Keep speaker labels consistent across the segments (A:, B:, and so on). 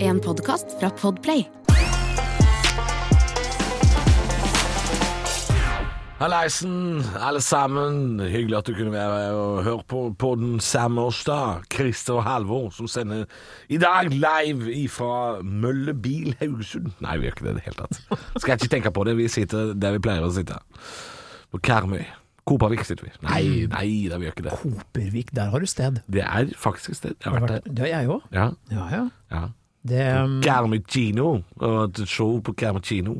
A: En podkast fra Podplay.
B: Halleisen, alle sammen. Hyggelig at du kunne være og høre på podden Sammersdag. Christer og Halvor som sender i dag live ifra Mølle bil Haugesund. Nei, vi gjør ikke det i det hele tatt. Skal jeg ikke tenke på det. Vi sitter der vi pleier å sitte. På Karmøy. Kopervik sitter vi. Nei, nei, da vi gjør ikke det.
C: Kopervik, der har du sted.
B: Det er faktisk et sted. Jeg har
C: Har
B: vært
C: vært-
B: der.
C: Det har jeg òg.
B: Ja,
C: Ja, ja.
B: ja.
C: Det, um,
B: Karmøy kino. Og et show på Karmøy kino.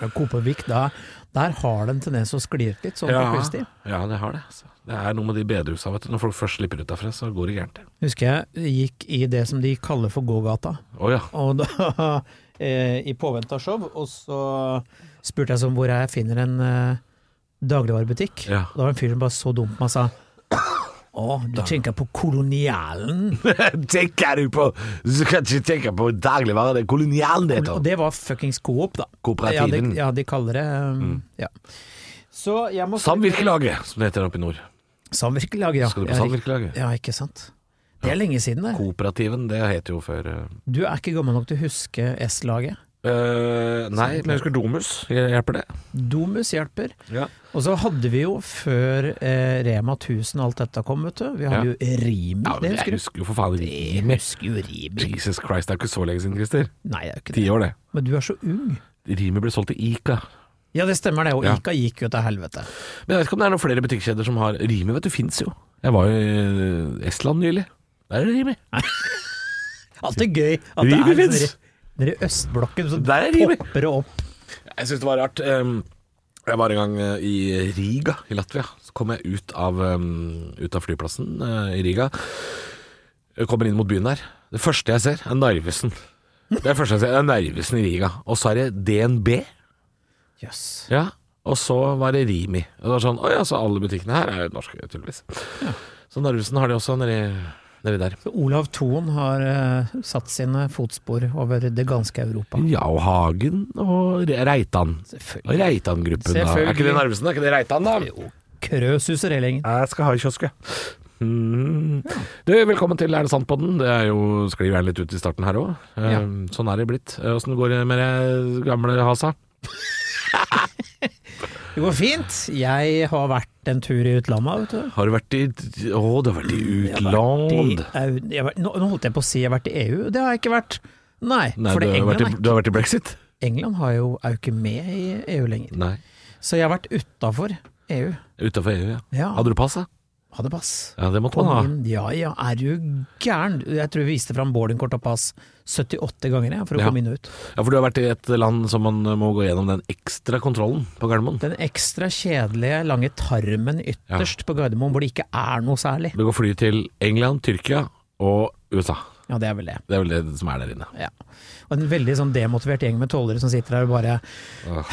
C: ja, Kopervik, da, der har de en tendens å skli ut litt, sånn på kveldstid.
B: ja, det har det. Altså. Det er noe med de bedehusene, vet du. Når folk først slipper ut derfra, så går det gærent.
C: Husker jeg gikk i det som de kaller for gågata,
B: Å ja.
C: og da, eh, i påvente av show, og så spurte jeg sånn hvor jeg finner en eh, dagligvarebutikk.
B: Ja.
C: Og Da var det en fyr som bare så dum på meg og sa å, du tenker på kolonialen?
B: tenker du på Du kan ikke tenke på dagligvare, det er kolonialen det
C: Og
B: heter.
C: det var fuckings Coop, da. Ja,
B: Kooperativen.
C: de, ja, de kaller det um,
B: Mm.
C: ja. Så jeg må
B: Samvirkelaget, som det heter oppe i nord.
C: Samvirkelag, ja.
B: Skal du på
C: Ja,
B: samvirkelaget?
C: Ja, ikke sant. Det er lenge siden, det.
B: Kooperativen, det het jo før eh.
C: Du er ikke gammel nok til å huske S-laget.
B: Eh, Nei, men jeg husker Domus. Hjelper det?
C: Domus hjelper.
B: Ja.
C: Og så hadde vi jo før eh, Rema 1000 og alt dette kom, vet du. Vi hadde jo Rimi.
B: ja men
C: det
B: jeg
C: husker du?
B: husker jo for faen
C: Jeg
B: Rimi.
C: husker jo Rimi.
B: Jesus Christ, det er jo ikke så lenge siden, Christer.
C: Nei, det er jo ikke det.
B: Ti år, det.
C: Men du er så ung.
B: Rimi ble solgt til Ica.
C: Ja, det stemmer det. Og
B: Ja.
C: Ica gikk jo til helvete.
B: Men jeg vet ikke om det er noen flere butikkjeder som har Rimi, vet du, fins jo. Jeg var jo i Estland nylig. Der er det Rimi.
C: Alltid gøy at det
B: Rimi
C: er sånn
B: finnes.
C: nede- nede i østblokken, så
B: Der er Rimi.
C: popper det opp.
B: Jeg syns det var rart. Ehm, jeg var en gang eh, i Riga i Latvia. Så kom jeg ut av, ehm, ut av flyplassen eh, i Riga. Jeg kommer inn mot byen der. Det første jeg ser, er Narvesen. Det er det første jeg ser, det er Narvesen i Riga. Og så er det DNB.
C: Jøss.
B: Ja. Og så var det Rimi. Og det var sånn, Å ja, så alle butikkene her er jo norske, tydeligvis. Så Narvesen har de også nedi, nedi der.
C: Så Olav Thon har eh, satt sine fotspor over det ganske Europa.
B: Ja, og Hagen og Re- Reitan. Og
C: Selvfølgelig.
B: Reitan-gruppen, da. Er ikke det
C: Selvfølgelig.
B: Narvesen? Er ikke det Reitan, da?
C: Jo, Krø suser hele gjengen.
B: Jeg skal ha i kiosket. Mm. Du, velkommen til Er det sant på den? Det er jo sklir gjerne litt ut i starten her òg.
C: Ja.
B: Sånn er det blitt. Eh, Åssen går det med det gamle Hasa?
C: Det går fint. Jeg har vært en tur i utlandet, vet du.
B: Har du vært i Å, du har vært i utland.
C: Jeg har vært i- jeg har vært- nå, nå holdt jeg på å si jeg har vært i EU. Det har jeg ikke vært. Nei,
B: Nei,
C: for
B: du,
C: det
B: har vært i,
C: England,
B: du har vært i brexit?
C: er- England har jo, er jo ikke med i EU lenger.
B: Nei.
C: Så jeg har vært utafor EU.
B: Utafor EU, E ja.
C: Ja,
B: Hadde du pass, da?
C: hadde pass.
B: Ja, det måtte
C: Kom
B: man ha.
C: inn. Ja ja, er du gæren? Jeg tror vi viste fram boardingkort og pass 78 ganger jeg, for å
B: Ja.
C: komme inn og ut.
B: Ja, For du har vært i et land som man må gå gjennom den ekstra kontrollen på Gardermoen.
C: Den ekstra kjedelige lange tarmen ytterst på Gardermoen hvor det ikke er noe særlig.
B: Det går fly til England, Tyrkia og USA.
C: Ja, det er vel det.
B: Det er vel det som er der inne.
C: Ja. Og en veldig sånn demotivert gjeng med tålere som sitter der og bare
B: Åh.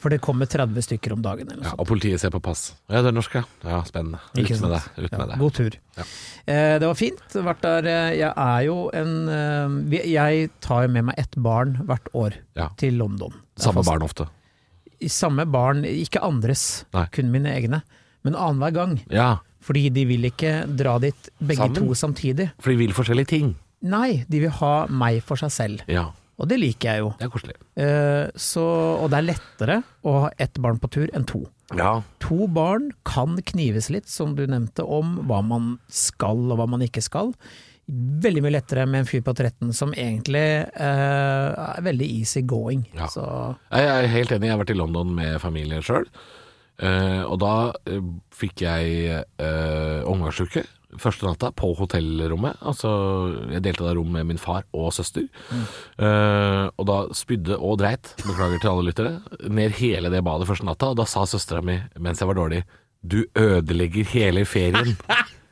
C: For det kommer 30 stykker om dagen eller noe
B: Ja, og politiet ser på pass. Ja, du er norsk, ja. Ja, spennende. Ut
C: Ikke
B: med det.
C: sant?
B: Ut
C: sånt.
B: med
C: Ja,
B: det.
C: god tur.
B: Ja.
C: Eh, det var fint. Vært der, eh, jeg er jo en eh, vi- Jeg tar jo med meg ett barn hvert år
B: Ja.
C: til London. Det er
B: Samme
C: fast-
B: barn ofte.
C: I Samme barn, ikke andres,
B: Nei.
C: kun mine egne. Men annenhver gang.
B: Ja,
C: Fordi de vil ikke dra dit begge
B: Sammen?
C: to samtidig.
B: for de vil forskjellige ting.
C: Nei, de vil ha meg for seg selv.
B: Ja,
C: Og det liker jeg jo.
B: det er koselig.
C: Eh, så, og det er lettere å ha ett barn på tur enn to.
B: Ja,
C: To barn kan knives litt, som du nevnte, om hva man skal og hva man ikke skal. Veldig mye lettere med en fyr på 13 som egentlig eh, er veldig easy going.
B: Ja.
C: Så
B: jeg er helt enig. Jeg har vært i London med familien sjøl. Og da eh, fikk jeg eh, omgangsuke første natta på hotellrommet. Altså, jeg delte da rom med min far og søster. Eh, og da spydde og dreit, beklager til alle lyttere, ned hele det badet første natta. Og da sa søstera mi mens jeg var dårlig, du ødelegger hele ferien.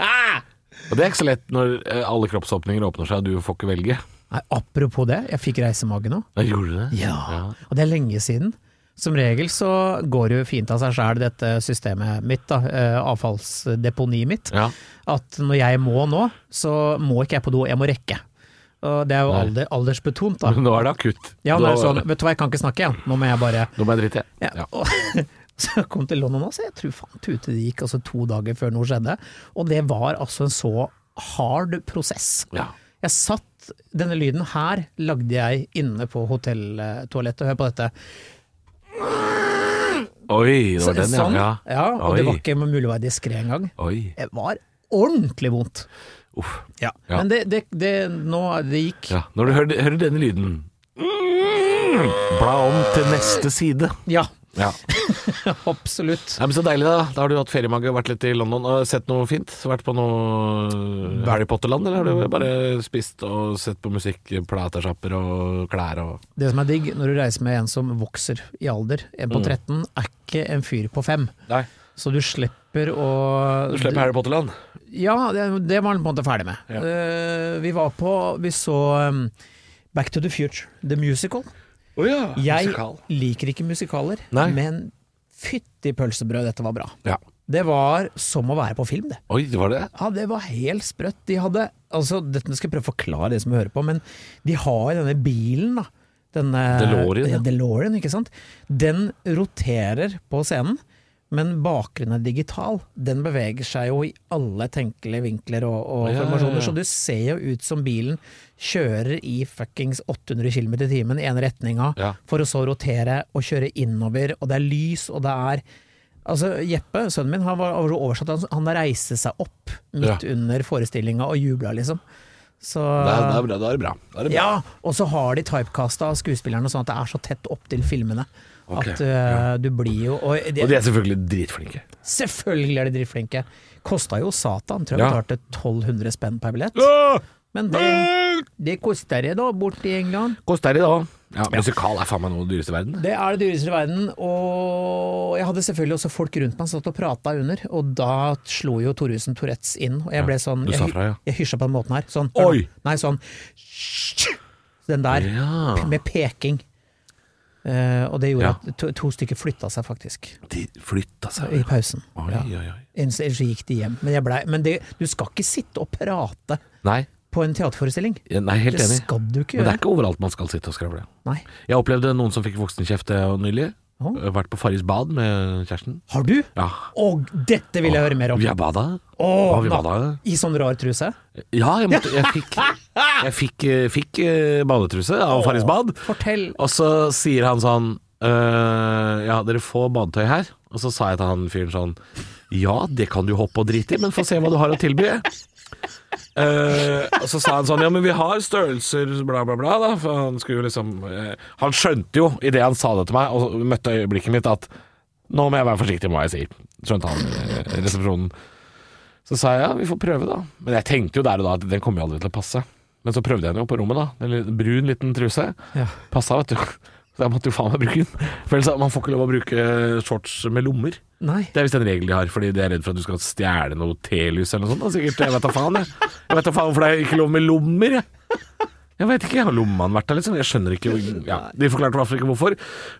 B: og det er ikke så lett når eh, alle kroppsåpninger åpner seg og du får ikke velge.
C: nei, apropos det, jeg fikk reisemage nå.
B: Da gjorde du det?
C: Og det er lenge siden. Som regel så går det jo fint av seg sjæl, dette systemet mitt, da, eh, avfallsdeponiet mitt.
B: Ja.
C: at når jeg må nå, så må ikke jeg på do, jeg må rekke. Og det er jo
B: Nei.
C: alder, aldersbetont, da.
B: Men nå er det akutt.
C: Ja,
B: nå,
C: det er sånn, vet du hva, jeg kan ikke snakke, jeg. Nå må jeg bare
B: nå må jeg drite.
C: ja.
B: Ja.
C: Og, Så jeg kom til London også, jeg tror faen tute det gikk altså to dager før noe skjedde. Og det var altså en så hard prosess.
B: Ja.
C: Jeg satt at denne lyden her lagde jeg inne på hotelltoalettet. Hør på dette.
B: Oi, det var den, ja.
C: sånn.
B: ja.
C: ja og det
B: Oi.
C: var ikke mulig å være diskré engang.
B: Oi.
C: Det var ordentlig vondt.
B: Uff.
C: Ja.
B: Ja.
C: Men det, det, det, nå, det gikk
B: Ja, når du hører, hører denne lyden Bla om til neste side.
C: Ja,
B: Ja.
C: absolutt.
B: Nei, men Så deilig, da. Da har du hatt feriemage og vært litt i London og sett noe fint? Vært på noe Harry Potter-land, eller har du bare spist og sett på musikk, platesjapper og klær og
C: Det som er digg når du reiser med en som vokser i alder, en
B: Mm.
C: på 13, er ikke en fyr på 5.
B: Nei.
C: Så du slipper å
B: Du slipper Harry Potter-land.
C: Ja, det, det var han på en måte ferdig med.
B: Ja.
C: Eh, vi var på Vi så um, Back to the Future, The Musical.
B: Å ja.
C: Jeg liker ikke musikaler,
B: Nei.
C: men fytti pølsebrød, dette var bra.
B: Ja.
C: Det var som å være på film, det.
B: Oi, det var det?
C: Ja, det var helt sprøtt. De hadde altså, Dette skal jeg prøve å forklare de som hører på, men de har denne bilen, da. Denne
B: DeLorean, ja.
C: Ja, DeLorean, ikke sant. Den roterer på scenen, men bakgrunnen er digital. Den beveger seg jo i alle tenkelige vinkler og, og
B: Ja, ja, ja.
C: formasjoner, så du ser jo ut som bilen kjører i fuckings 800 km i timen i ene retninga,
B: Ja.
C: for å så rotere og kjøre innover, og det er lys, og det er Altså, Jeppe, sønnen min, han var han var oversatt, han, han reiste seg opp midt under forestillinga og jubla, liksom. Så
B: Da da er det bra. Da er det bra. Da er det bra.
C: Ja, og så har de typecasta skuespillerne sånn at det er så tett opp til filmene.
B: Ok,
C: At uh, du blir jo Og, de,
B: Og de er selvfølgelig dritflinke.
C: selvfølgelig er de drittflinke! Kosta jo satan, tror jeg
B: Ja.
C: betalte 1200 spenn per billett.
B: Åh!
C: Men det,
B: Åh!
C: det koster det da, borte i England.
B: Koster det, da. Ja, musikal er faen meg noe av det dyreste i verden.
C: Det er det dyreste i verden, og jeg hadde selvfølgelig også folk rundt meg som satt og prata under, og da slo jo Thoresen Tourettes inn, og jeg ble sånn
B: du sa
C: Jeg,
B: fra, ja.
C: jeg hysja på den måten her. Sånn.
B: Oi!
C: Nei, sånn Den der,
B: Ja.
C: p- med peking. Eh, og det gjorde
B: Ja.
C: at to, to stykker flytta seg, faktisk,
B: De flytta seg.
C: i pausen.
B: Oi,
C: Ja.
B: oi, oi.
C: Ellers ellers gikk de hjem. Men, jeg ble, men det, du skal ikke sitte og prate
B: Nei,
C: på en teaterforestilling.
B: nei, helt
C: Det
B: enig.
C: skal du ikke
B: Men det
C: gjøre.
B: er ikke overalt man skal sitte og skravle.
C: Nei.
B: Jeg opplevde noen som fikk voksenkjeft eh, nylig.
C: Å.
B: Jeg har Vært på Farris bad med kjæresten.
C: Har du?
B: Ja.
C: Og dette vil jeg høre mer om!
B: Vi har bada.
C: Åh,
B: Ja, vi
C: na-
B: bada.
C: I sånn rar truse?
B: Ja, jeg, måtte, jeg fikk, jeg fikk, eh, fikk eh, badetruse av Farris bad.
C: Fortell.
B: Og så sier han sånn «Øh, Ja, dere får badetøy her. Og så sa jeg til han fyren sånn Ja, det kan du hoppe og drite i, men få se hva du har å tilby. Eh, og så sa han sånn Ja, men vi har størrelser, bla, bla, bla. Da. For han skulle jo liksom eh, Han skjønte jo idet han sa det til meg, og møtte øyeblikket mitt, at nå må jeg være forsiktig med hva jeg sier. Skjønte han eh, i resepsjonen. Så sa jeg ja, vi får prøve, da. Men jeg tenkte jo der og da at den kommer jo aldri til å passe. Men så prøvde jeg den jo på rommet, da. En liten brun liten truse.
C: Ja.
B: Passa, vet du. Så jeg måtte jo faen meg bruke den. For ellers man får ikke lov å bruke shorts med lommer.
C: Nei.
B: Det er visst en regel de har, fordi de er redd for at du skal stjele noe telys eller noe sånt. Da. Sikkert, jeg vet da faen, jeg. Jeg vet da faen hvorfor det er ikke lov med lommer, jeg. Jeg vet ikke, har lommemannen vært der, liksom? Jeg skjønner ikke ja, De forklarte i hvert fall ikke hvorfor.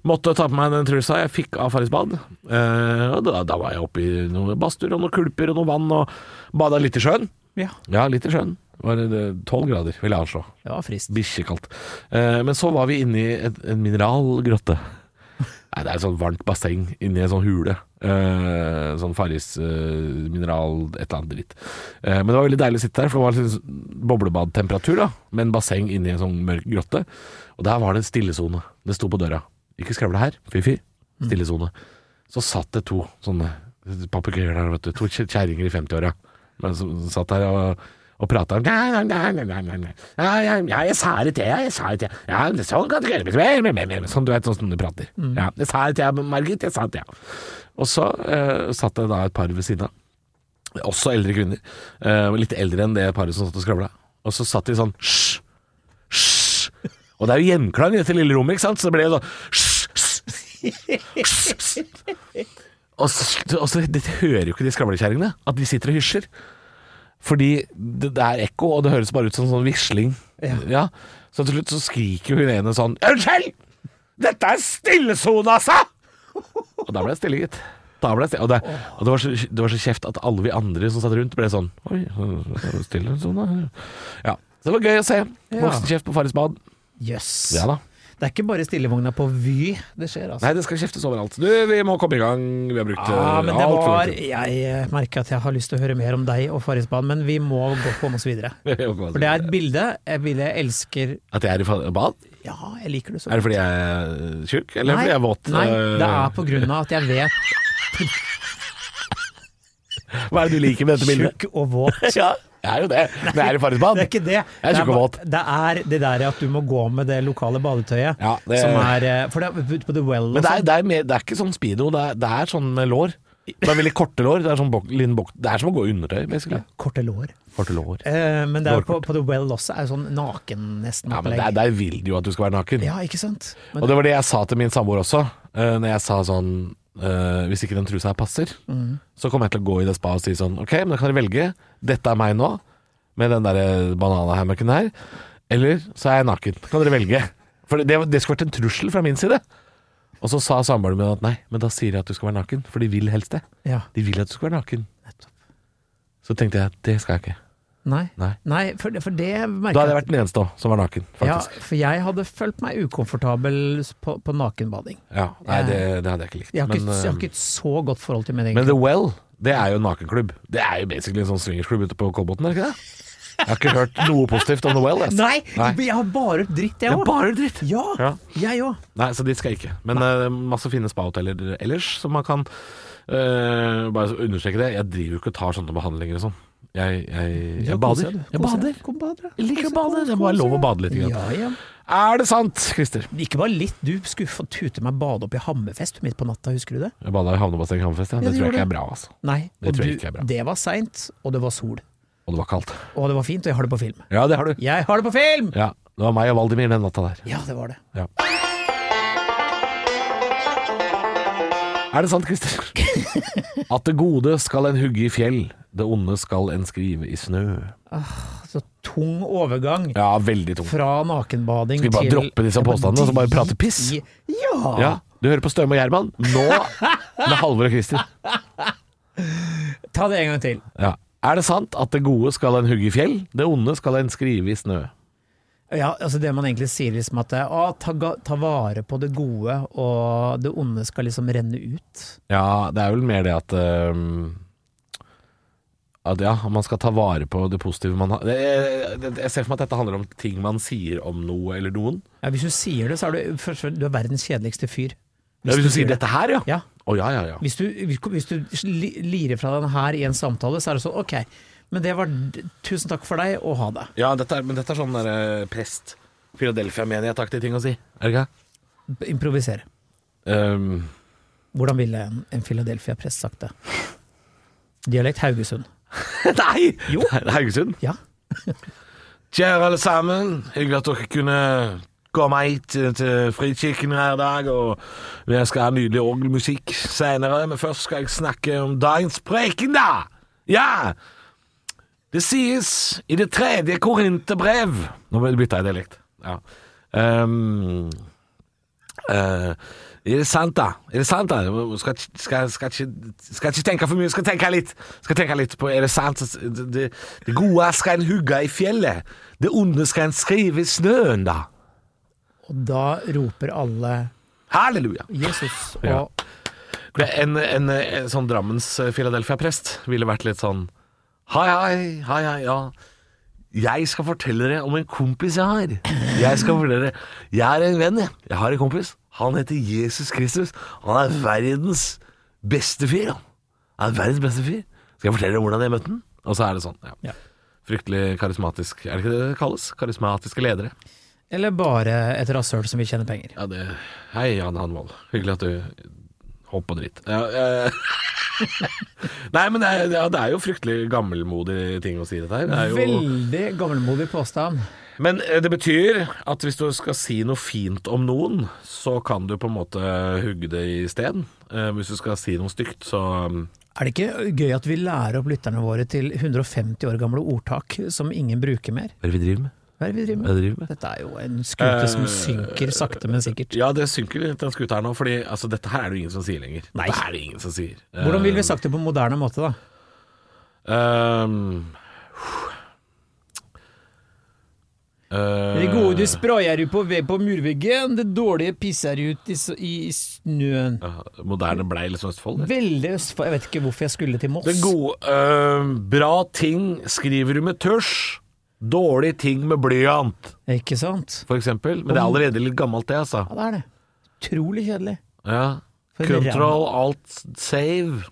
B: Måtte ta på meg den trusa jeg fikk av Farris bad. Eh, og da, da var jeg oppe i noen badstuer og noen kulper og noe vann, og bada litt i sjøen.
C: Ja.
B: Ja, litt i sjøen. Var det tolv grader, vil jeg anslå.
C: Det var frist.
B: Bikkjekaldt. Eh, men så var vi inne i et, en mineralgrotte. Nei, det er et sånt varmt basseng inni en sånn hule. Eh, sånn Farris eh, mineral, et eller annet dritt. Eh, men det var veldig deilig å sitte der, for det var litt sånn boblebadtemperatur, da. Med en basseng inni en sånn mørk grotte. Og der var det en stillesone. Det sto på døra. Ikke skravle her, fy-fy. Stillesone. Så satt det to sånne papegøyer der, vet du. To kje- kjerringer i 50-åra. Men som satt der og, og prata om «Nei, nei, nei, nei, nei, nei. Ja, ja, ja, jeg sa det til deg, jeg sa det til deg. Ja, men sånn kan du gjøre men- men- men- Sånn du vet, sånn som du prater. Ja, jeg sa det til deg, Margit, jeg sa det til deg. Og så eh, satt det da et par ved siden av. Også eldre kvinner. Eh, litt eldre enn det paret som satt og skravla. Og så satt de sånn Hysj! Hysj! Og det er jo gjenklang i dette lille rommet, ikke sant? Så det ble jo sånn Hysj! hysj, Hysj! hysj». Og så, og så det hører jo ikke de skravlekjerringene, at de sitter og hysjer. Fordi det, det er ekko, og det høres bare ut som sånn visling.
C: Ja.
B: Så til slutt så skriker hun ene sånn Unnskyld! Dette er stillesona, sa! Og da ble det stille, gitt. Da ble det stille. Og, det, og det, var så, det var så kjeft at alle vi andre som satt rundt, ble sånn Oi, er det stille sånn, da? Ja. Så det var gøy å se.
C: Ja.
B: Voksenkjeft på Farris bad.
C: Jøss.
B: Ja da.
C: Det er ikke bare stillevogna på Vy det skjer, altså.
B: Nei, det skal kjeftes overalt. Du, vi må komme i gang. Vi har brukt
C: Ja,
B: eh,
C: Ah, men det
B: alt for lang
C: var
B: tid.
C: Jeg eh, merker at jeg har lyst til å høre mer om deg og Farrisbanen, men vi må gå komme oss videre. For det er et bilde jeg, vil, jeg elsker
B: At jeg er i fa- bad?
C: Ja, jeg liker det så
B: Er det fordi jeg er eh, tjukk, eller fordi jeg er våt?
C: Nei, det er
B: Eh,
C: på grunn av at jeg vet
B: Hva er det du liker med dette bildet?
C: tjukk og våt.
B: Ja, jeg er jo det. Men jeg er i Farrisbad.
C: Det er ikke det.
B: Jeg er tjukk og
C: bare-
B: våt.
C: Det er det der at du må gå med det lokale badetøyet.
B: Ja, det-
C: Som er eh, For det er ute på The Well og
B: Men det er,
C: sånn.
B: det, er mer, det er ikke sånn speedo, det er, det er sånn med lår. Det er veldig korte lår. Det er, sånn bok, linn bok, det er som å gå i undertøy, basically.
C: sånn. Korte lår.
B: Korte lår.
C: Eh, men det er på, på The Well også er sånn naken nesten
B: Ja, men
C: opplegg.
B: der, der vil de jo at du skal være naken.
C: Ja, ikke sant? Men,
B: Og det var det jeg sa til min samboer også, eh, når jeg sa sånn eh, Hvis ikke den trusa her passer,
C: Mhm.
B: så kommer jeg til å gå i det spaet og si sånn Ok, men da kan dere velge. Dette er meg nå, med den derre bananahammocken her. Eller så er jeg naken. Kan dere velge? For det, det skulle vært en trussel fra min side. Og så sa samboeren min at nei, men da sier jeg at du skal være naken, for de vil helst det.
C: ja,
B: De vil at du skal være naken.
C: nettopp.
B: Så tenkte jeg det skal jeg ikke.
C: Nei.
B: Nei.
C: Nei, for, det- for det merker
B: Da hadde jeg vært den eneste også som var naken,
C: Ja,
B: faktisk.
C: for jeg hadde følt meg ukomfortabel på, på nakenbading.
B: Ja. Nei, det, det hadde jeg ikke likt.
C: Jeg har, ikke,
B: Men,
C: jeg har
B: eh,
C: ikke et så godt forhold til min egen
B: Men The Well, det er jo en nakenklubb. Det er jo basically en sånn swingersklubb ute på Kolbotn, er det ikke det? Jeg har ikke hørt noe positivt om The Well. ass.
C: Nei,
B: Nei.
C: jeg har bare hørt dritt,
B: Det
C: jeg
B: er
C: òg.
B: bare dritt.
C: Ja,
B: Ja.
C: jeg òg.
B: Nei, så dit skal jeg ikke. Men eh, masse fine spahoteller ellers, så man kan eh, bare understreke det. Jeg driver jo ikke og tar sånne behandlinger og sånn. Jeg, jeg, jeg bader. Jeg bader.
C: Kom, bader.
B: Jeg liker å bade. Det er bare lov å bade litt. grann.
C: Ja, ja.
B: Er det sant, Christer?
C: Ikke bare litt, du skulle få tute meg bade opp i Hammerfest midt på natta, husker du det?
B: Jeg bada i havnebasseng i Hammerfest. Ja.
C: Ja,
B: Det tror
C: du
B: jeg
C: gjorde
B: ikke er bra, altså.
C: Nei.
B: Det
C: og
B: tror jeg
C: du-
B: ikke er bra.
C: Det var seint, og det var sol.
B: Og det var kaldt.
C: Og det var fint, og jeg har det på film.
B: Ja, det har du.
C: Jeg har det på film!
B: Ja, Det var meg og Valdimir den natta der.
C: Ja, det var det.
B: Ja. Er det sant, Christer? At det gode skal en hugge i fjell, det onde skal en skrive i snø.
C: Så Altså, tung overgang
B: Ja, veldig tungt.
C: fra nakenbading
B: Skal vi
C: til
B: bare droppe disse
C: Ja, men
B: påstandene, og så bare
C: de-
B: prate piss?
C: Ja.
B: Ja, du hører på Støme og Gjerman, nå med Halvor og Christer.
C: Ta det en gang til.
B: Ja. Er det sant at det gode skal en hugge i fjell, det onde skal en skrive i snø?
C: Ja, altså Det man egentlig sier liksom at det er, å, ta, ga- ta vare på det gode, og det onde skal liksom renne ut.
B: Ja, det er vel mer det at øhm, At ja, man skal ta vare på det positive man har jeg, jeg, jeg ser for meg at dette handler om ting man sier om noe eller noen.
C: Ja, Hvis du sier det, så er du, først, og fremst, du er verdens kjedeligste fyr.
B: Hvis, hvis du sier
C: det.
B: dette her, ja. Å
C: Ja.
B: ja, ja, ja.
C: Hvis du, hvis, hvis du li- lirer fra den her i en samtale, så er det sånn ok, men det var d- Tusen takk for deg, og ha det.
B: ja dette er, men dette er sånn der, eh, prest Philadelphia-menighetaktig ting å si, er det ikke? det?
C: B- Improvisere.
B: Øhm,
C: Hvordan ville en, en Philadelphia-prest sagt det? Dialekt Haugesund.
B: nei!
C: Jo.
B: Det er Haugesund.
C: Ja.
B: Kjære alle sammen, hyggelig at dere kunne komme hit til Frikirken hver dag. Og vi skal ha nydelig orgelmusikk senere, men først skal jeg snakke om dagens preken, da! Ja! Det sies i det tredje korinterbrev Nå bytta jeg dialekt. Ja. Ehm, eh, er det sant, da? Er det sant, da? Skal, skal, skal, ikke, skal ikke tenke for mye, skal tenke litt. Skal tenke litt på Er det sant? Det, det, det gode skal en hugge i fjellet. Det onde skal en skrive i snøen, da.
C: Og da roper alle
B: Halleluja.
C: Jesus og
B: Ja. Det, en, en, en sånn Drammens Philadelphia-prest ville vært litt sånn Hei, hei, hei, hei, ja. Jeg skal fortelle dere om en kompis jeg har. Jeg skal fortelle dere Jeg er en venn, jeg. Jeg har en kompis. Han heter Jesus Kristus. Han er verdens beste fyr, han. Han er verdens beste fyr. Skal jeg fortelle dere hvordan jeg møtte han? Og så er det sånn. Ja.
C: Ja.
B: Fryktelig karismatisk. Er det ikke det det kalles? Karismatiske ledere.
C: Eller bare et rasshøl som vil tjene penger.
B: Ja, det Hei, Jan Hanvold. Hyggelig at du hopp på dritt. Ja, eh. Nei, men det er, ja, det er jo fryktelig gammelmodig ting å si dette her. Det er jo,
C: Veldig gammelmodig påstand.
B: men eh, det betyr at hvis du skal si noe fint om noen, så kan du på en måte hugge det i sten. Eh, Hvis du skal si noe stygt, så mm,
C: Er det ikke gøy at vi lærer opp lytterne våre til 150 år gamle ordtak som ingen bruker mer?
B: Hva er det vi driver med?
C: Hva er det vi
B: Hva er det
C: driver med?
B: vi driver med?
C: Dette er jo en skute
B: Eh,
C: som synker sakte, men sikkert.
B: Ja, det synker litt den skuta her nå, Fordi altså, dette her er det jo ingen som sier lenger.
C: Nei.
B: Dette er det ingen som sier. Eh,
C: Hvordan ville vi sagt det på moderne måte, da?
B: ehm, Eh,
C: Det gode du sprayer du på, ve- på murveggen, det dårlige pisser du ut i, s- i snøen.
B: Eh, ja, moderne blei liksom Østfold. det.
C: Veldig Østfold. Jeg vet ikke hvorfor jeg skulle til Moss.
B: Det gode eh, Bra ting skriver du med tusj. Dårlige ting med blyant,
C: Ikke sant?
B: for eksempel. Men det er allerede litt gammelt, det, altså.
C: Ja, det er det. Utrolig kjedelig.
B: Ja.
C: For en
B: Control alt save.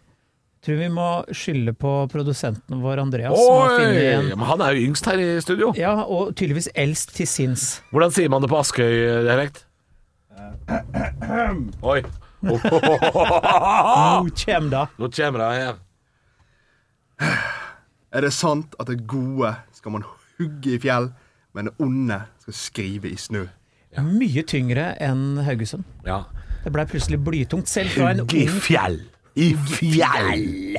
C: Tror vi må skylde på produsenten vår, Andreas. som har funnet
B: Oi!
C: en-
B: Men han er jo yngst her i studio.
C: Ja, og tydeligvis eldst til sinns.
B: Hvordan sier man det på Askøy-dialekt? Oi.
A: Ah!
C: Nå kjem da.
B: Nå kommer det her.
A: Er det sant at det gode skal man hugge i fjell, men det onde skal skrive i snø?
C: Mye tyngre enn Haugesund.
B: Ja.
C: Det blei plutselig blytungt selv fra en
B: I
C: ung
B: fjell. I fjell.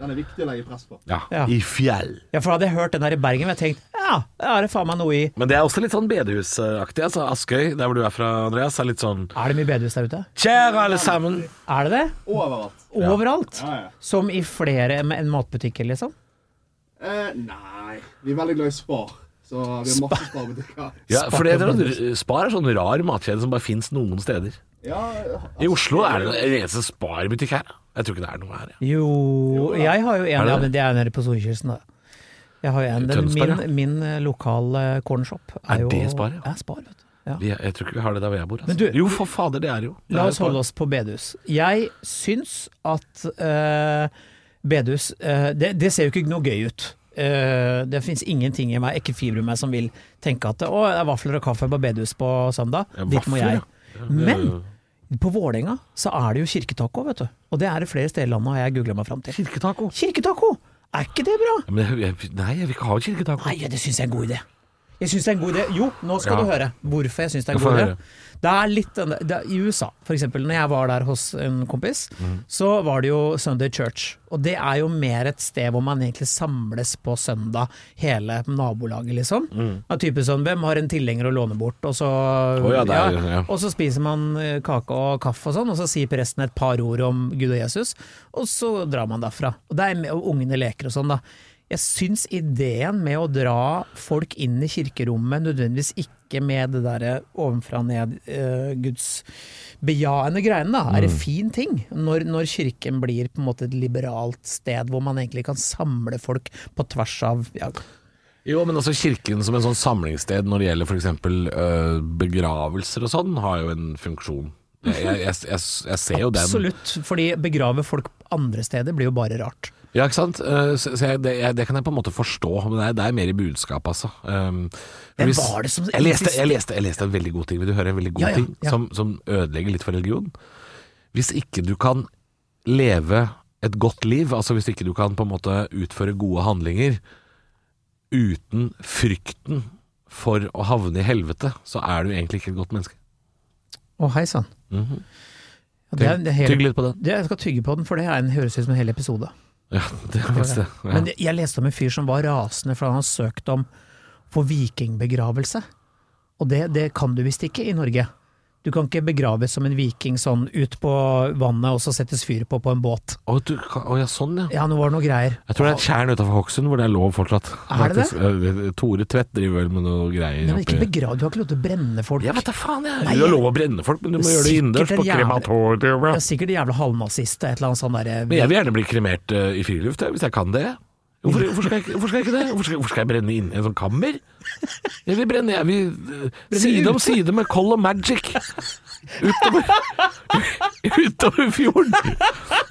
A: Den er viktig å legge press på.
B: Ja.
C: Ja.
B: I fjell.
C: Ja, for hadde jeg hørt den der i Bergen, hadde jeg tenkt ja, det er det faen meg noe i.
B: Men det er også litt sånn bedehusaktig. Altså. Askøy, der hvor du er fra, Andreas, er litt sånn
C: Er det mye bedehus der ute?
B: Kjære alle sammen.
C: Er det det?
A: Overalt.
C: Overalt?
A: Ja, ja.
C: Som i flere enn matbutikker, liksom?
A: Eh, nei, vi er veldig glad i Spar, så vi har masse Spar-butikker.
B: Ja, for det er noe- Spar er sånn rar matkjede som bare fins noen steder.
A: Ja,
B: I Oslo er det en eneste Spar-butikk her. Jeg tror ikke det er noe her. Ja.
C: Jo, jeg har jo
B: Er det
C: en, ja,
B: det?
C: men det er nede på Solkysten, da. Jeg har jo en, den,
B: Tønsberg,
C: min,
B: ja.
C: min eh, lokale cornershop
B: Er
C: jo
B: det Spar, ja?
C: er Spar, vet du. Ja.
B: Vi- Jeg tror ikke vi har det der hvor jeg bor.
C: Men du-
B: Altså. Jo, for fader, det er jo. sånn- Det
C: La
B: er
C: oss
B: Spar.
C: holde oss på bedehus. Jeg syns at eh, bedehus eh, det, det ser jo ikke noe gøy ut. Eh, det fins ingenting i meg, ikke fiber i meg, som vil tenke at å, det er vafler og kaffe på bedehus på søndag.
B: Ja,
C: Dit må
B: vafler,
C: jeg.
B: ja.
C: Men på Vålerenga så er det jo kirketaco, vet du. Og det er det flere steder i landet, har jeg googla meg fram til.
B: Kirketaco.
C: Kirketaco! Er ikke det bra?
B: Ja, Men jeg, jeg, nei, jeg vil ikke ha kirketaco.
C: Nei, det syns jeg er en god idé. Jeg synes det er en god idé. Jo, nå skal
B: Ja.
C: du høre hvorfor jeg syns det er en
B: Få
C: god
B: høre.
C: idé. Det er litt den der- det er, I USA, for eksempel, når jeg var der hos en kompis,
B: Mhm.
C: så var det jo Sunday Church. Og det er jo mer et sted hvor man egentlig samles på søndag, hele nabolaget, liksom.
B: Mhm.
C: Av type sånn, hvem har en tilhenger å låne bort, og så
B: ja, det er- ja.
C: og så spiser man eh, kake og kaffe og sånn, og så sier presten et par ord om Gud og Jesus, og så drar man derfra. Og, det er med, og ungene leker og sånn, da. Jeg syns ideen med å dra folk inn i kirkerommet, nødvendigvis ikke med det derre ovenfra og ned eh, Guds bejaende greiene, da,
B: Mm.
C: er en fin ting. Når, når kirken blir på en måte et liberalt sted hvor man egentlig kan samle folk på tvers av ja,
B: Jo, men også kirken som en sånn samlingssted når det gjelder f.eks. Øh, begravelser og sånn, har jo en funksjon. Jeg, jeg, jeg, jeg, jeg ser jo den.
C: Absolutt, fordi begrave folk andre steder blir jo bare rart.
B: Ja, ikke sant? Eh, Så, så jeg, det, jeg, det kan jeg på en måte forstå, men det er, det er mer i budskapet, altså. Um,
C: Hvem var det som-
B: jeg leste, jeg, leste, jeg leste en veldig god ting. Vil du høre en veldig god
C: Altså, Ja, ja,
B: ting
C: ja.
B: Som, som ødelegger litt for religion? Hvis ikke du kan leve et godt liv, altså hvis ikke du kan på en måte utføre gode handlinger uten frykten for å havne i helvete, så er du egentlig ikke et godt menneske.
C: Å, hei sann.
B: Mhm.
C: Ja, det er- det er hele-
B: Tygg litt på den.
C: Det, jeg skal tygge på den, for det er en, høres ut som en hel episode.
B: Ja, det er faktisk det. Ja.
C: Men jeg, jeg leste om en fyr som var rasende fordi han har søkt om for vikingbegravelse. Og det, det kan du visst ikke i Norge. Du kan ikke begraves som en viking sånn ut på vannet og så settes fyr på på en båt.
B: Å, du, kan- å ja, sånn ja.
C: Ja, nå var det noe greier.
B: Jeg tror det er et tjern utafor Hokksund hvor det er lov fortsatt. Eh,
C: Er det det?
B: det? Tore Tvedt driver vel med noe greier.
C: Nei, men ikke
B: oppi-
C: begrav, du har ikke lov til å brenne folk.
B: jeg vet da faen, jeg.
C: Nei,
B: Du har lov å brenne folk, men du må
C: Det er
B: gjøre det innendørs
C: sikkert en
B: på
C: jævla-
B: krematorium.
C: Det
B: ja.
C: er sikkert en jævla halvnazist, et eller annet sånn derre
B: Men jeg vil gjerne bli kremert eh, i friluft, jeg, hvis jeg kan det. Hvorfor, hvorfor, skal jeg, ikke- hvorfor skal jeg ikke det? Hvorfor skal, hvorfor skal jeg brenne inne i en sånn kammer? Jeg vil brenne jeg vil, eh, side om side med Coll og Magic. Utover, utover fjorden.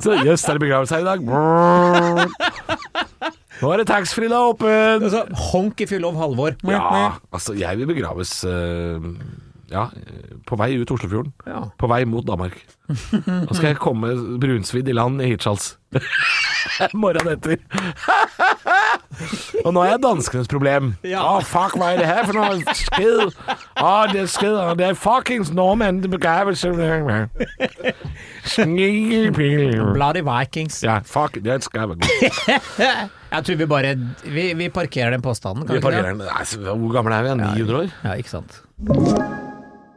B: Så jøss, er det begravelse her i dag? Brrr. Nå er det taxfree-da åpen!
C: altså, Honk if you love Halvor.
B: Ja, altså jeg vil begraves eh, ja, eh, på vei ut Oslofjorden.
C: Ja.
B: På vei mot Danmark. Da skal jeg komme brunsvidd i land i Hirtshals. Morgenen etter. og nå er jeg danskenes problem. Å,
C: Ja.
B: fuck, hva er det her for noe skid? Å, det er skid, og det er fuckings nordmenn til begravelse. Snigepil.
C: Bloody Vikings.
B: Ja, fuck, det skal jeg
C: Jeg tror vi bare Vi, vi parkerer den påstanden, kan
B: Vi
C: vi ikke det?
B: parkerer den. Nei, så Hvor gamle er vi? 900 år?
C: Ja, ikke sant.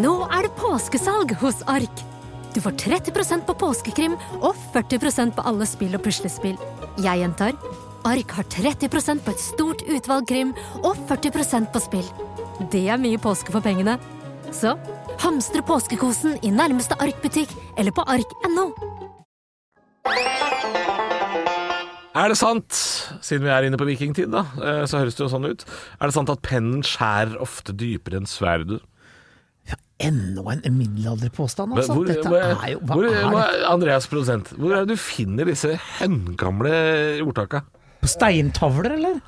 D: Nå er det påskesalg hos Ark. Du får 30 på påskekrim og 40 på alle spill og puslespill. Jeg gjentar Ark har 30 på et stort utvalg krim og 40 på spill. Det er mye påske for pengene. Så hamstre påskekosen i nærmeste Ark-butikk eller på ark.no.
B: Er det sant, siden vi er inne på vikingtid, da, eh, så høres det jo sånn ut, er det sant at pennen skjærer ofte dypere enn sverdet?
C: Enda en middelalderpåstand, altså.
B: Hvor,
C: Dette
B: hvor,
C: er jo Hva
B: hvor,
C: er det?
B: hvor- Andreas produsent, hvor er det du finner disse høngamle ordtaka?
C: På steintavler, eller?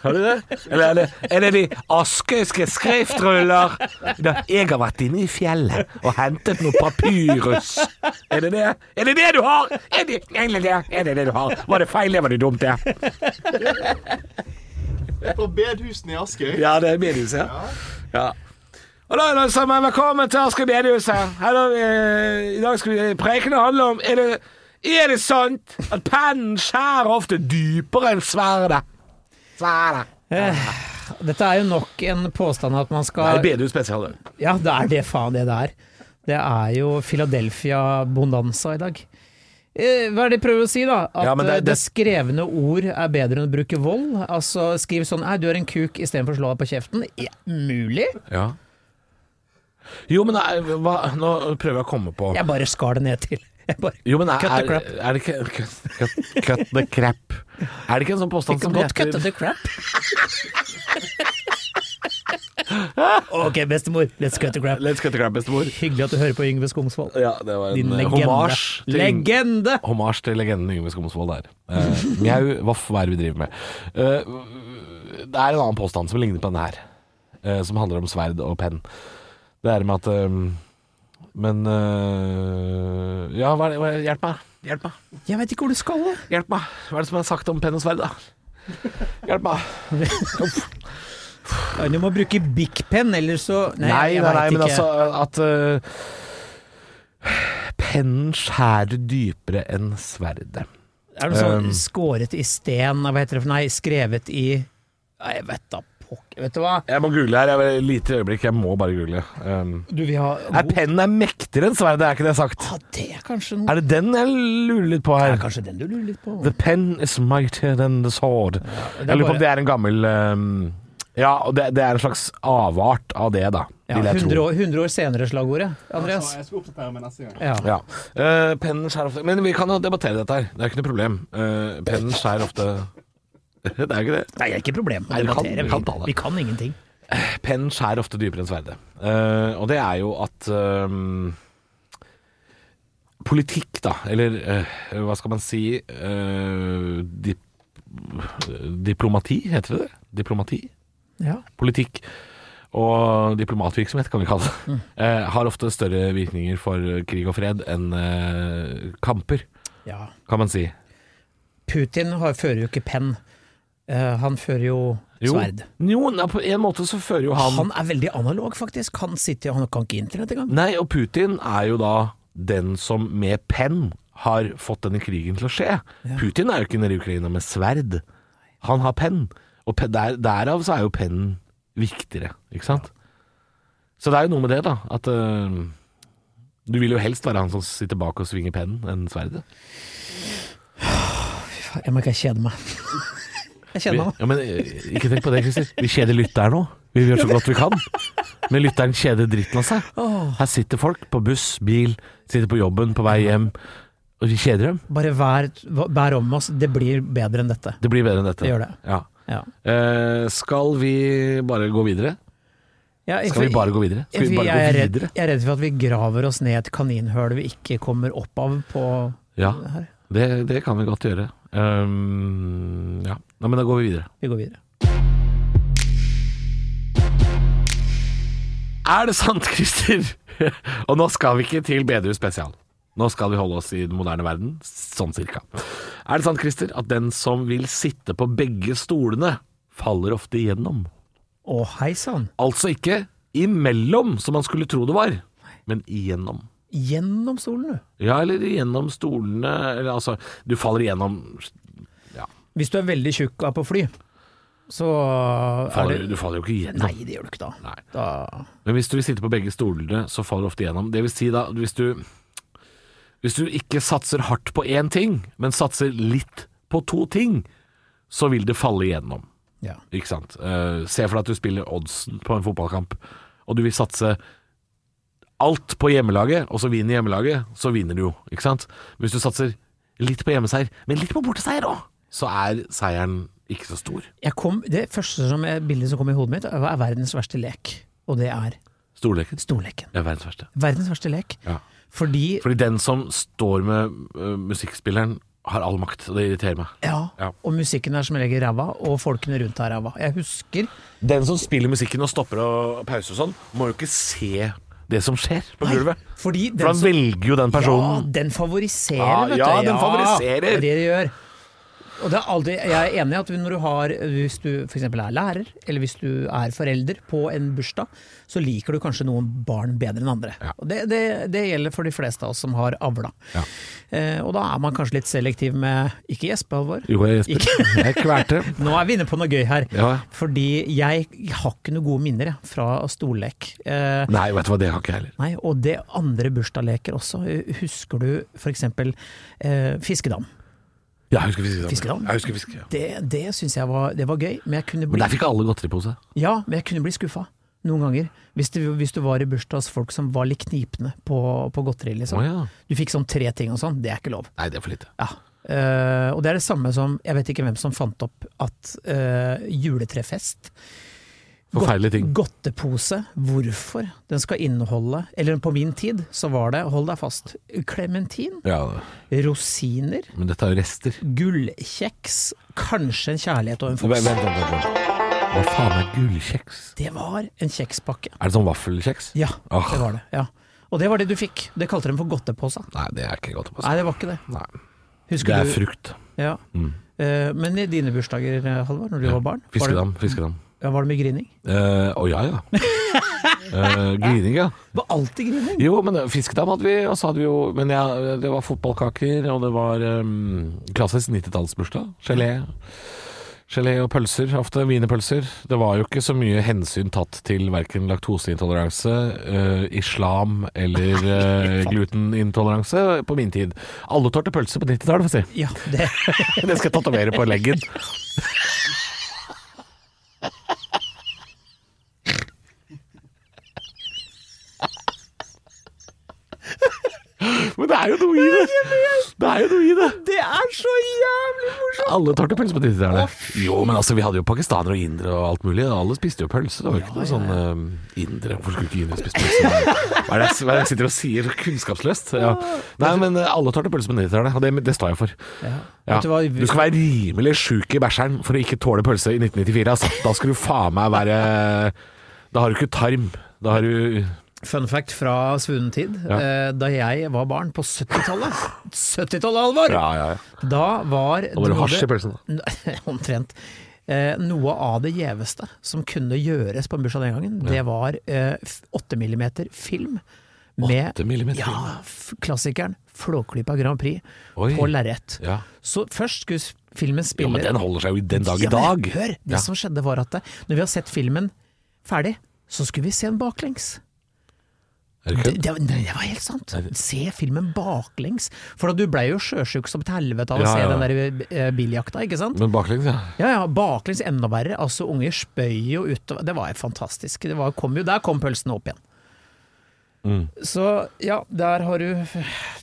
B: Har du det? Eller er det, er det de askøyske skriftruller? Da, jeg har vært inne i fjellet og hentet noe papyrus. Er det det? Er det det du har? Er det er det, det? Er det, det du har? Var det feil? Det var det dumt, det.
A: På bedhusene i Askøy.
B: Ja, det er mediehuset, ja. ja. Hallo, alle sammen. Velkommen til Asker mediehuset. Hallo, eh, I dag skal vi prekene handle om er det, er det sant at pennen skjærer ofte dypere enn sverdet? Sverdet.
C: Dette er jo nok en påstand at man
B: Det er
C: skal
B: bedehus spesial. det.
C: Ja, det er det faen det det er. Det er jo Philadelphia Bonanza i dag. Eh, Hva er det de prøver å si, da? At
B: Ja, men det-
C: eh,
B: det-
C: det skrevne ord er bedre enn å bruke vold? Altså skriv sånn 'Ei, du er en kuk', istedenfor å slå deg på kjeften? Ja, mulig?
B: Ja. Jo, men nei, hva, nå prøver jeg å komme på
C: Jeg bare skar det ned til. Jeg bare,
B: Jo, men er,
C: Cut the
B: er,
C: crap.
B: er det ikke cut, cut- cut the crap. Er det ikke en sånn påstand
C: kan
B: som
C: godt
B: heter
C: kutte the crap. ok, bestemor. Let's cut the crap.
B: Let's cut the crap, bestemor.
C: Hyggelig at du hører på Yngve Skomsvold.
B: Ja, det var
C: Din
B: en eh,
C: legende.
B: hommage til
C: legende!
B: Hommage til legenden Yngve Skomsvold der. Eh, Mjau, voff, hva er det vi driver med? Eh, det er en annen påstand som ligner på denne her, eh, som handler om sverd og penn. Det er med at eh, Men eh, Ja, hva er det, hva er det- hjelp meg. Hjelp meg.
C: Jeg veit ikke hvor du skal. da.
B: Hjelp meg. Hva er det som er sagt om penn og sverd, da? Hjelp meg.
C: Ja, Du må bruke Big Pen, eller så Nei,
B: Nei,
C: jeg
B: nei, nei
C: vet
B: men
C: ikke.
B: altså at eh, Pennen skjærer dypere enn sverdet.
C: Er det noe sånn
B: Um.
C: skåret i sten Hva heter det for Nei, skrevet i Nei, jeg vet da pokker Vet du hva?
B: Jeg må google her. Jeg et lite øyeblikk, jeg må bare google. Um,
C: Du vil ha
B: er pennen er mektigere enn sverdet, er ikke det sagt?
C: Ja, det er kanskje noe
B: Er det den jeg lurer litt på
C: Det er
B: her?
C: kanskje den du lurer litt på
B: The pen is mightier than the sword.
C: er
B: Jeg lurer på
C: bare-
B: om det er en gammel um, Ja, og det, det er en slags avart av det, da.
C: ja,
B: vil jeg
C: 100,
B: tro.
C: år, 100 år senere slagordet Andreas
A: Jeg skal oppdatere meg neste gang.
C: ja.
B: Ja. Eh, pennen skjærer ofte Men vi kan jo debattere dette her. Det er ikke noe problem. Eh, pennen skjærer ofte Det er jo ikke det.
C: Nei, det er ikke problem å
B: Nei, du kan-
C: debattere
B: du
C: vi,
B: kan ta det.
C: vi kan ingenting
B: Pennen skjærer ofte dypere enn sverdet. Eh, og det er jo at ehm, Politikk, da, eller eh, hva skal man si eh, dip, Diplomati, heter det det? Diplomati?
C: ja.
B: Politikk og diplomatvirksomhet, kan vi kalle det. eh, har ofte større virkninger for krig og fred enn eh, kamper,
C: ja
B: kan man si.
C: Putin har, fører jo ikke pen Eh, Han fører jo,
B: Jo,
C: sverd
B: Jo, na, på en måte så fører jo
C: han er veldig analog faktisk Han sitter, han kan ikke internett engang
B: Nei, og Putin er jo da den som med penn har fått denne krigen til å skje. Putin er jo ikke nede i Ukraina med sverd. Han har penn. Og pe- der, derav så er jo pennen viktigere, ikke sant? Så det er jo noe med det, da. At øh, du vil jo helst være han som sitter bak og svinger pennen, enn sverdet.
C: Jeg må ikke kjede meg Jeg
B: Vi,
C: kjeder meg nå
B: ja, men øh, ikke tenk på det, Christer. Vi kjeder lytteren nå. Vi gjør så godt vi kan. Men lytteren kjeder dritten av seg. Her sitter folk på buss, bil, sitter på jobben, på vei hjem, og vi kjeder dem.
C: Bare vær, vær om oss, det blir bedre enn dette
B: Det blir bedre enn dette.
C: Det gjør det.
B: Ja.
C: Ja
B: Eh, skal vi bare gå videre?
C: Ja,
B: Skal vi
C: for-
B: bare gå videre? Skal vi
C: for
B: bare
C: jeg, er
B: gå
C: redd,
B: videre?
C: jeg er redd for at vi graver oss ned et kaninhøl vi ikke kommer opp av på
B: Ja,
C: her.
B: det, det kan vi godt gjøre. Um, ja. Nei, men da går vi videre.
C: Vi går videre.
B: Er det sant, Christer? Og nå skal vi ikke til Bedehus spesial. Nå skal vi holde oss i den moderne verden, sånn cirka. Er det sant, Christer, at den som vil sitte på begge stolene, faller ofte igjennom?
C: Å, hei sann.
B: Altså ikke imellom, som man skulle tro det var, men igjennom.
C: Gjennom stolen, du.
B: Ja, eller igjennom stolene Eller altså, du faller igjennom
C: Hvis du er veldig tjukk og er på fly, så er
B: faller,
C: det
B: Du faller jo ikke igjennom.
C: Nei, det gjør du ikke da.
B: Nei.
C: da.
B: Men hvis du vil sitte på begge stolene, så faller du ofte gjennom. Det vil si da, hvis du, hvis du ikke satser hardt på én ting, men satser litt på to ting, så vil det falle igjennom.
C: Ja.
B: Ikke sant? Eh, se for deg at du spiller oddsen på en fotballkamp, og du vil satse alt på hjemmelaget, og så vinner hjemmelaget, så vinner du jo, ikke sant? Men hvis du satser litt på hjemmeseier, men litt på borteseier òg, så er seieren ikke så stor.
C: Jeg kom, det første som jeg, bildet som kom i hodet mitt, er verdens verste lek. Og det er
B: Storleken
C: storleken.
B: er verdens verste.
C: Verdens verste lek.
B: Ja.
C: Fordi
B: Fordi den som står med ø, musikkspilleren, har all makt, og det irriterer meg.
C: ja,
B: Ja.
C: og musikken er som regel ræva, og folkene rundt er ræva. Jeg husker
B: Den som spiller musikken og stopper og pauser og sånn, må jo ikke se det som skjer på gulvet.
C: Fordi den
B: For han
C: som-
B: velger jo den
C: Ja,
B: personen.
C: den favoriserer,
B: Ja,
C: vet du.
B: ja, den favoriserer.
C: Det er det det gjør. Og det er aldri, jeg er enig i at når du har, hvis du f.eks. er lærer, eller hvis du er forelder på en bursdag, så liker du kanskje noen barn bedre enn andre.
B: Ja.
C: Og Det, det, det gjelder for de fleste av oss som har avla. Eh, og da er man kanskje litt selektiv med Ikke gjespe, Halvor.
B: Jo, jeg Jesper. Jeg kvelte.
C: Nå er vi inne på noe gøy her.
B: Ja.
C: Fordi jeg har ikke noen gode minner jeg, fra stollek. Eh,
B: Nei, vet du hva, det har ikke jeg heller.
C: Nei, og det andre bursdagsleker også. Husker du f.eks. Eh, fiskedam?
B: Ja, jeg husker fiskedam.
C: Fiskedam?
B: Jeg husker fiske, ja.
C: Det, det syns jeg var, det var gøy, men jeg kunne
B: Men
C: bli,
B: der fikk alle godteripose.
C: ja, men jeg kunne bli skuffa. Noen ganger. Hvis du, hvis du var i bursdag hos folk som var litt knipne på, på godteri. Liksom.
B: Å ja.
C: Du fikk sånn tre ting og sånn, det er ikke lov.
B: Nei, det er for lite.
C: Ja. Eh, og det er det samme som Jeg vet ikke hvem som fant opp at eh, juletrefest
B: Forferdelige ting.
C: Godtepose, hvorfor? Den skal inneholde Eller på min tid så var det, hold deg fast, klementin,
B: Ja,
C: rosiner,
B: men dette er jo rester.
C: gullkjeks, kanskje en kjærlighet og en
B: Vent,
C: foks.
B: vent, vent, vent. Hva faen er gullkjeks?
C: Det var en kjekspakke.
B: Er det sånn vaffelkjeks?
C: Ja,
B: Åh.
C: det var det. Ja. Og det var det du fikk. Det kalte de for godteposa.
B: Nei, det er ikke godteripose.
C: Nei, det var ikke det.
B: Nei.
C: Husker
B: Det er Mm.
C: du?
B: frukt.
C: Ja. Eh, Men i dine bursdager, Halvor, når du var barn, var det,
B: Fiskedam. fiskedam.
C: ja, var det mye grining?
B: Å ja, ja. Eh, grining, ja.
C: Det var alltid grining!
B: Jo, men eh, fiskedam hadde vi, og så hadde vi jo Men ja, det var fotballkaker, og det var eh, klassisk 90-tallsbursdag. Gelé. Gelé og pølser, ofte wienerpølser. Det var jo ikke så mye hensyn tatt til verken laktoseintoleranse, eh, islam eller eh, glutenintoleranse på min tid. Alle tålte pølser på 90-tallet, får jeg si.
C: Ja, det,
B: Det skal jeg tatovere på leggen. Men det er jo noe i det. Det er jo noe i det.
C: det er så jævlig morsomt!
B: Alle tar til pølse på 90-tallet. Jo, men altså, vi hadde jo pakistanere og indere og alt mulig. og Alle spiste jo pølse. Det var jo ikke noe sånn eh, indere Hvorfor skulle ikke indere spise pølse? Hva er det jeg- hva er det jeg sitter og sier så kunnskapsløst? Ja. Nei, men eh, alle tar til pølse på 90-tallet, og det, det står jeg for. Ja.
C: Vet du hva?
B: Du skal være rimelig sjuk i bæsjeren for å ikke tåle pølse i 1994. Altså. Da skal du faen meg være Da har du ikke tarm. Da har du
C: Fun fact fra svunnen tid.
B: Ja.
C: Eh, Da jeg var barn på 70-tallet 70-tallet, Alvor!
B: ja, ja.
C: Da var
B: Da var det
C: noe
B: hasj i pølsen. da.
C: Omtrent. Eh, Noe av det gjeveste som kunne gjøres på en bursdag den gangen, det var eh, f- 8 mm film. Med
B: 8 millimeter.
C: ja, f- klassikeren Flåklypa Grand Prix
B: Oi.
C: på lerret.
B: Ja.
C: Så først skulle s- filmen
B: ja,
C: spille
B: men den holder seg jo i den dag i
C: Ja, men
B: dag.
C: Hør!
B: Ja.
C: Det som skjedde var at det, når vi har sett filmen ferdig, så skulle vi se den baklengs.
B: Er det
C: Det,
B: kødd?
C: det, var- nei, det var helt sant. Se filmen baklengs. For da du blei jo sjøsjuk som et helvete av å
B: Ja,
C: se
B: ja.
C: den der eh, biljakta, ikke sant?
B: Men baklengs, ja.
C: Ja, ja, baklengs enda verre. Altså, unger spøy jo utover Det var jo fantastisk. Det var, kom jo, der kom pølsene opp igjen.
B: Mm.
C: Så ja, der har du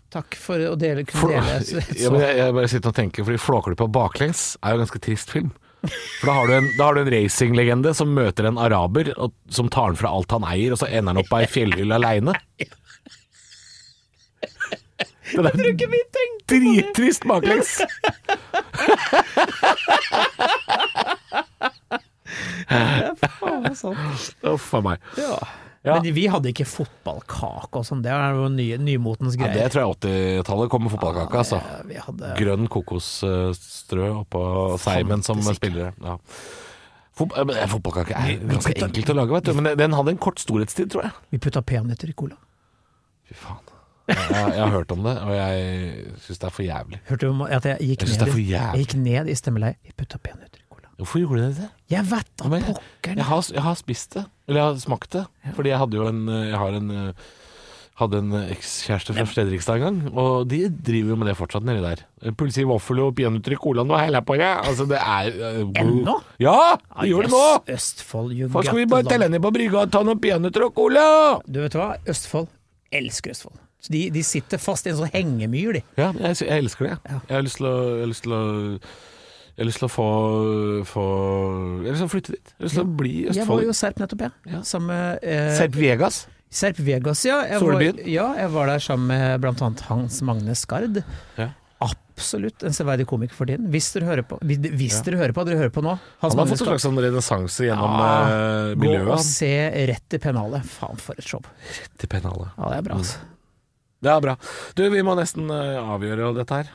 C: Takk for å dele,
B: For,
C: kunne dele. Så,
B: ja, men jeg, jeg bare sitter og tenker, fordi Flåklypa baklengs er jo en ganske trist film. For da har du en, da har du en racinglegende som møter en araber, og, som tar han fra alt han eier, og så ender han opp på ei fjellhylle aleine. Den er drittrist baklengs!
C: faen, sant.
B: Uff a meg.
C: Ja.
B: Ja.
C: Men vi hadde ikke fotballkake og sånn, det er jo ny, nymotens
B: Ja,
C: greier.
B: det tror jeg 80-tallet kom med fotballkake, altså.
C: Ja, vi hadde
B: Grønn kokosstrø oppå seimen som
C: Fantes ikke.
B: spillere. Ja. Fot eh, men, eh, fotballkake er ganske enkelt å lage, vet du. Men den hadde en kort storhetstid, tror jeg.
C: Vi putta peanøtter i cola.
B: Fy faen. Jeg, jeg, jeg har hørt om det, og jeg syns det er for jævlig.
C: Hørte du om at jeg gikk
B: Jeg synes
C: ned,
B: det er for
C: i- jeg
B: jævlig.
C: gikk ned i stemmeleie? Vi putta peanøtter i cola.
B: Hvorfor gjorde dere det?
C: Jeg vet da
B: Men-
C: pokkeren!
B: Jeg har, jeg har spist det. Eller jeg har smakt det. Fordi jeg hadde jo en eh, Jeg har en eh, hadde en eh, ekskjæreste fra Fredrikstad en gang, og de driver jo med det fortsatt nedi der. Pulsi vaffel og peanøtter i colaen og heller på det. Altså, det er eh,
C: Ennå?
B: Ja! Vi gjør det nå!
C: Ah, Yes, Østfold, you
B: Hva
C: got
B: skal vi
C: the
B: bare
C: love.
B: telle ned på brygga og ta noen peanøtter og cola?
C: Du vet hva, Østfold elsker Østfold. Så de, de sitter fast i en sånn hengemyr, de.
B: Ja, jeg, sy- jeg elsker det. jeg. Jeg har lyst til å Jeg har lyst til å, jeg har lyst til å få, få Jeg har lyst til å flytte dit. Jeg har lyst til å bli i
C: Jeg var
B: Østfold.
C: jo i Serp nettopp, jeg.
B: Ja.
C: Sammen med eh,
B: Serp Vegas.
C: Serp Vegas, ja. Jeg var,
B: Solbyen.
C: ja, jeg var der sammen med blant annet Hans Magne Skard.
B: Ja.
C: Absolutt en severdig komiker for tiden. Hvis dere hører på, hvis hvis dere hører på, dere hører på nå. Hans
B: Han har
C: Magne
B: fått en
C: Skard.
B: slags sånn renessanse gjennom
C: Ja.
B: eh,
C: Gå og
B: miljøet.
C: se rett i pennalet. Faen, for et show.
B: Til pennalet.
C: Ja, det er bra, altså.
B: Det er bra. Du, vi må nesten eh, avgjøre dette her.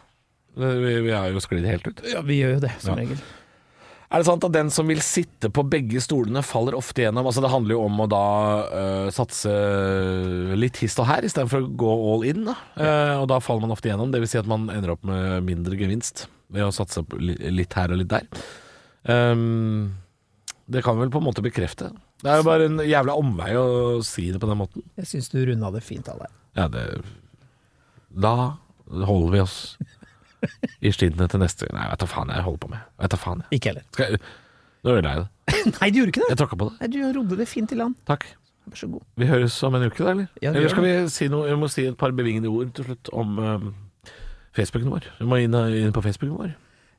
B: Vi, vi er jo sklidd helt ut.
C: Ja, vi gjør jo det, som regel.
B: Er det sant at den som vil sitte på begge stolene, faller ofte gjennom? Altså, det handler jo om å da eh, satse litt hist og her, istedenfor å gå all in. Da. Eh, og da faller man ofte gjennom. Det vil si at man ender opp med mindre gevinst ved å satse på li- litt her og litt der. Ehm, det kan vi vel på en måte bekrefte. Det er jo bare en jævla omvei å si det på den måten.
C: Jeg syns du runda det fint av deg.
B: Ja, det Da holder vi oss i skinnet til neste Nei, vet du faen jeg holder på med. Vet du faen jeg.
C: Ikke heller.
B: Skal jeg... Nå ødela jeg det.
C: Nei, du gjorde ikke det!
B: Jeg tråkka på det.
C: Nei, du rodde det fint i land.
B: Takk.
C: Vær så god.
B: Vi høres om en uke, da, eller?
C: Ja, vi
B: eller
C: gjør
B: skal vi si noe Vi må si et par bevingede ord til slutt om ehm, Facebooken vår. Vi må inn, inn på Facebooken vår.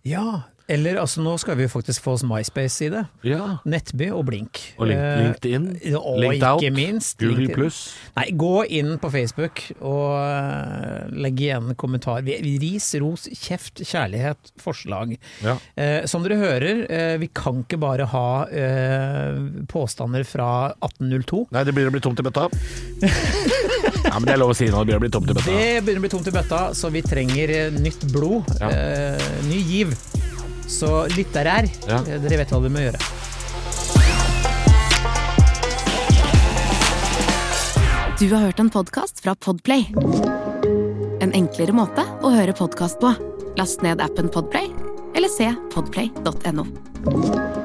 C: Ja. Eller altså, nå skal vi jo faktisk få oss MySpace-side.
B: Ja.
C: Nettby og Blink.
B: Og link,
C: Eh,
B: LinkedIn.
C: og
B: Linked
C: ikke
B: Out.
C: minst
B: Google
C: LinkedIn.
B: pluss.
C: Nei, gå inn på Facebook og eh, legg igjen en kommentar. Vi- vi- Ris, ros, kjeft, kjærlighet, forslag.
B: Ja.
C: Eh, som dere hører, eh, vi kan ikke bare ha eh, påstander fra 1802.
B: Nei, det begynner å bli tomt i bøtta. ja, men det er lov å si nå. Det begynner å bli tomt i bøtta.
C: Det begynner å bli tomt i bøtta, så vi trenger eh, nytt blod.
B: Ja.
C: Eh, ny giv. Så lyttere her,
B: Ja.
C: eh, dere vet hva dere må gjøre.
E: Du har hørt en podcast fra Podplay En enklere måte å høre podcast på Last ned appen Podplay Eller se podplay.no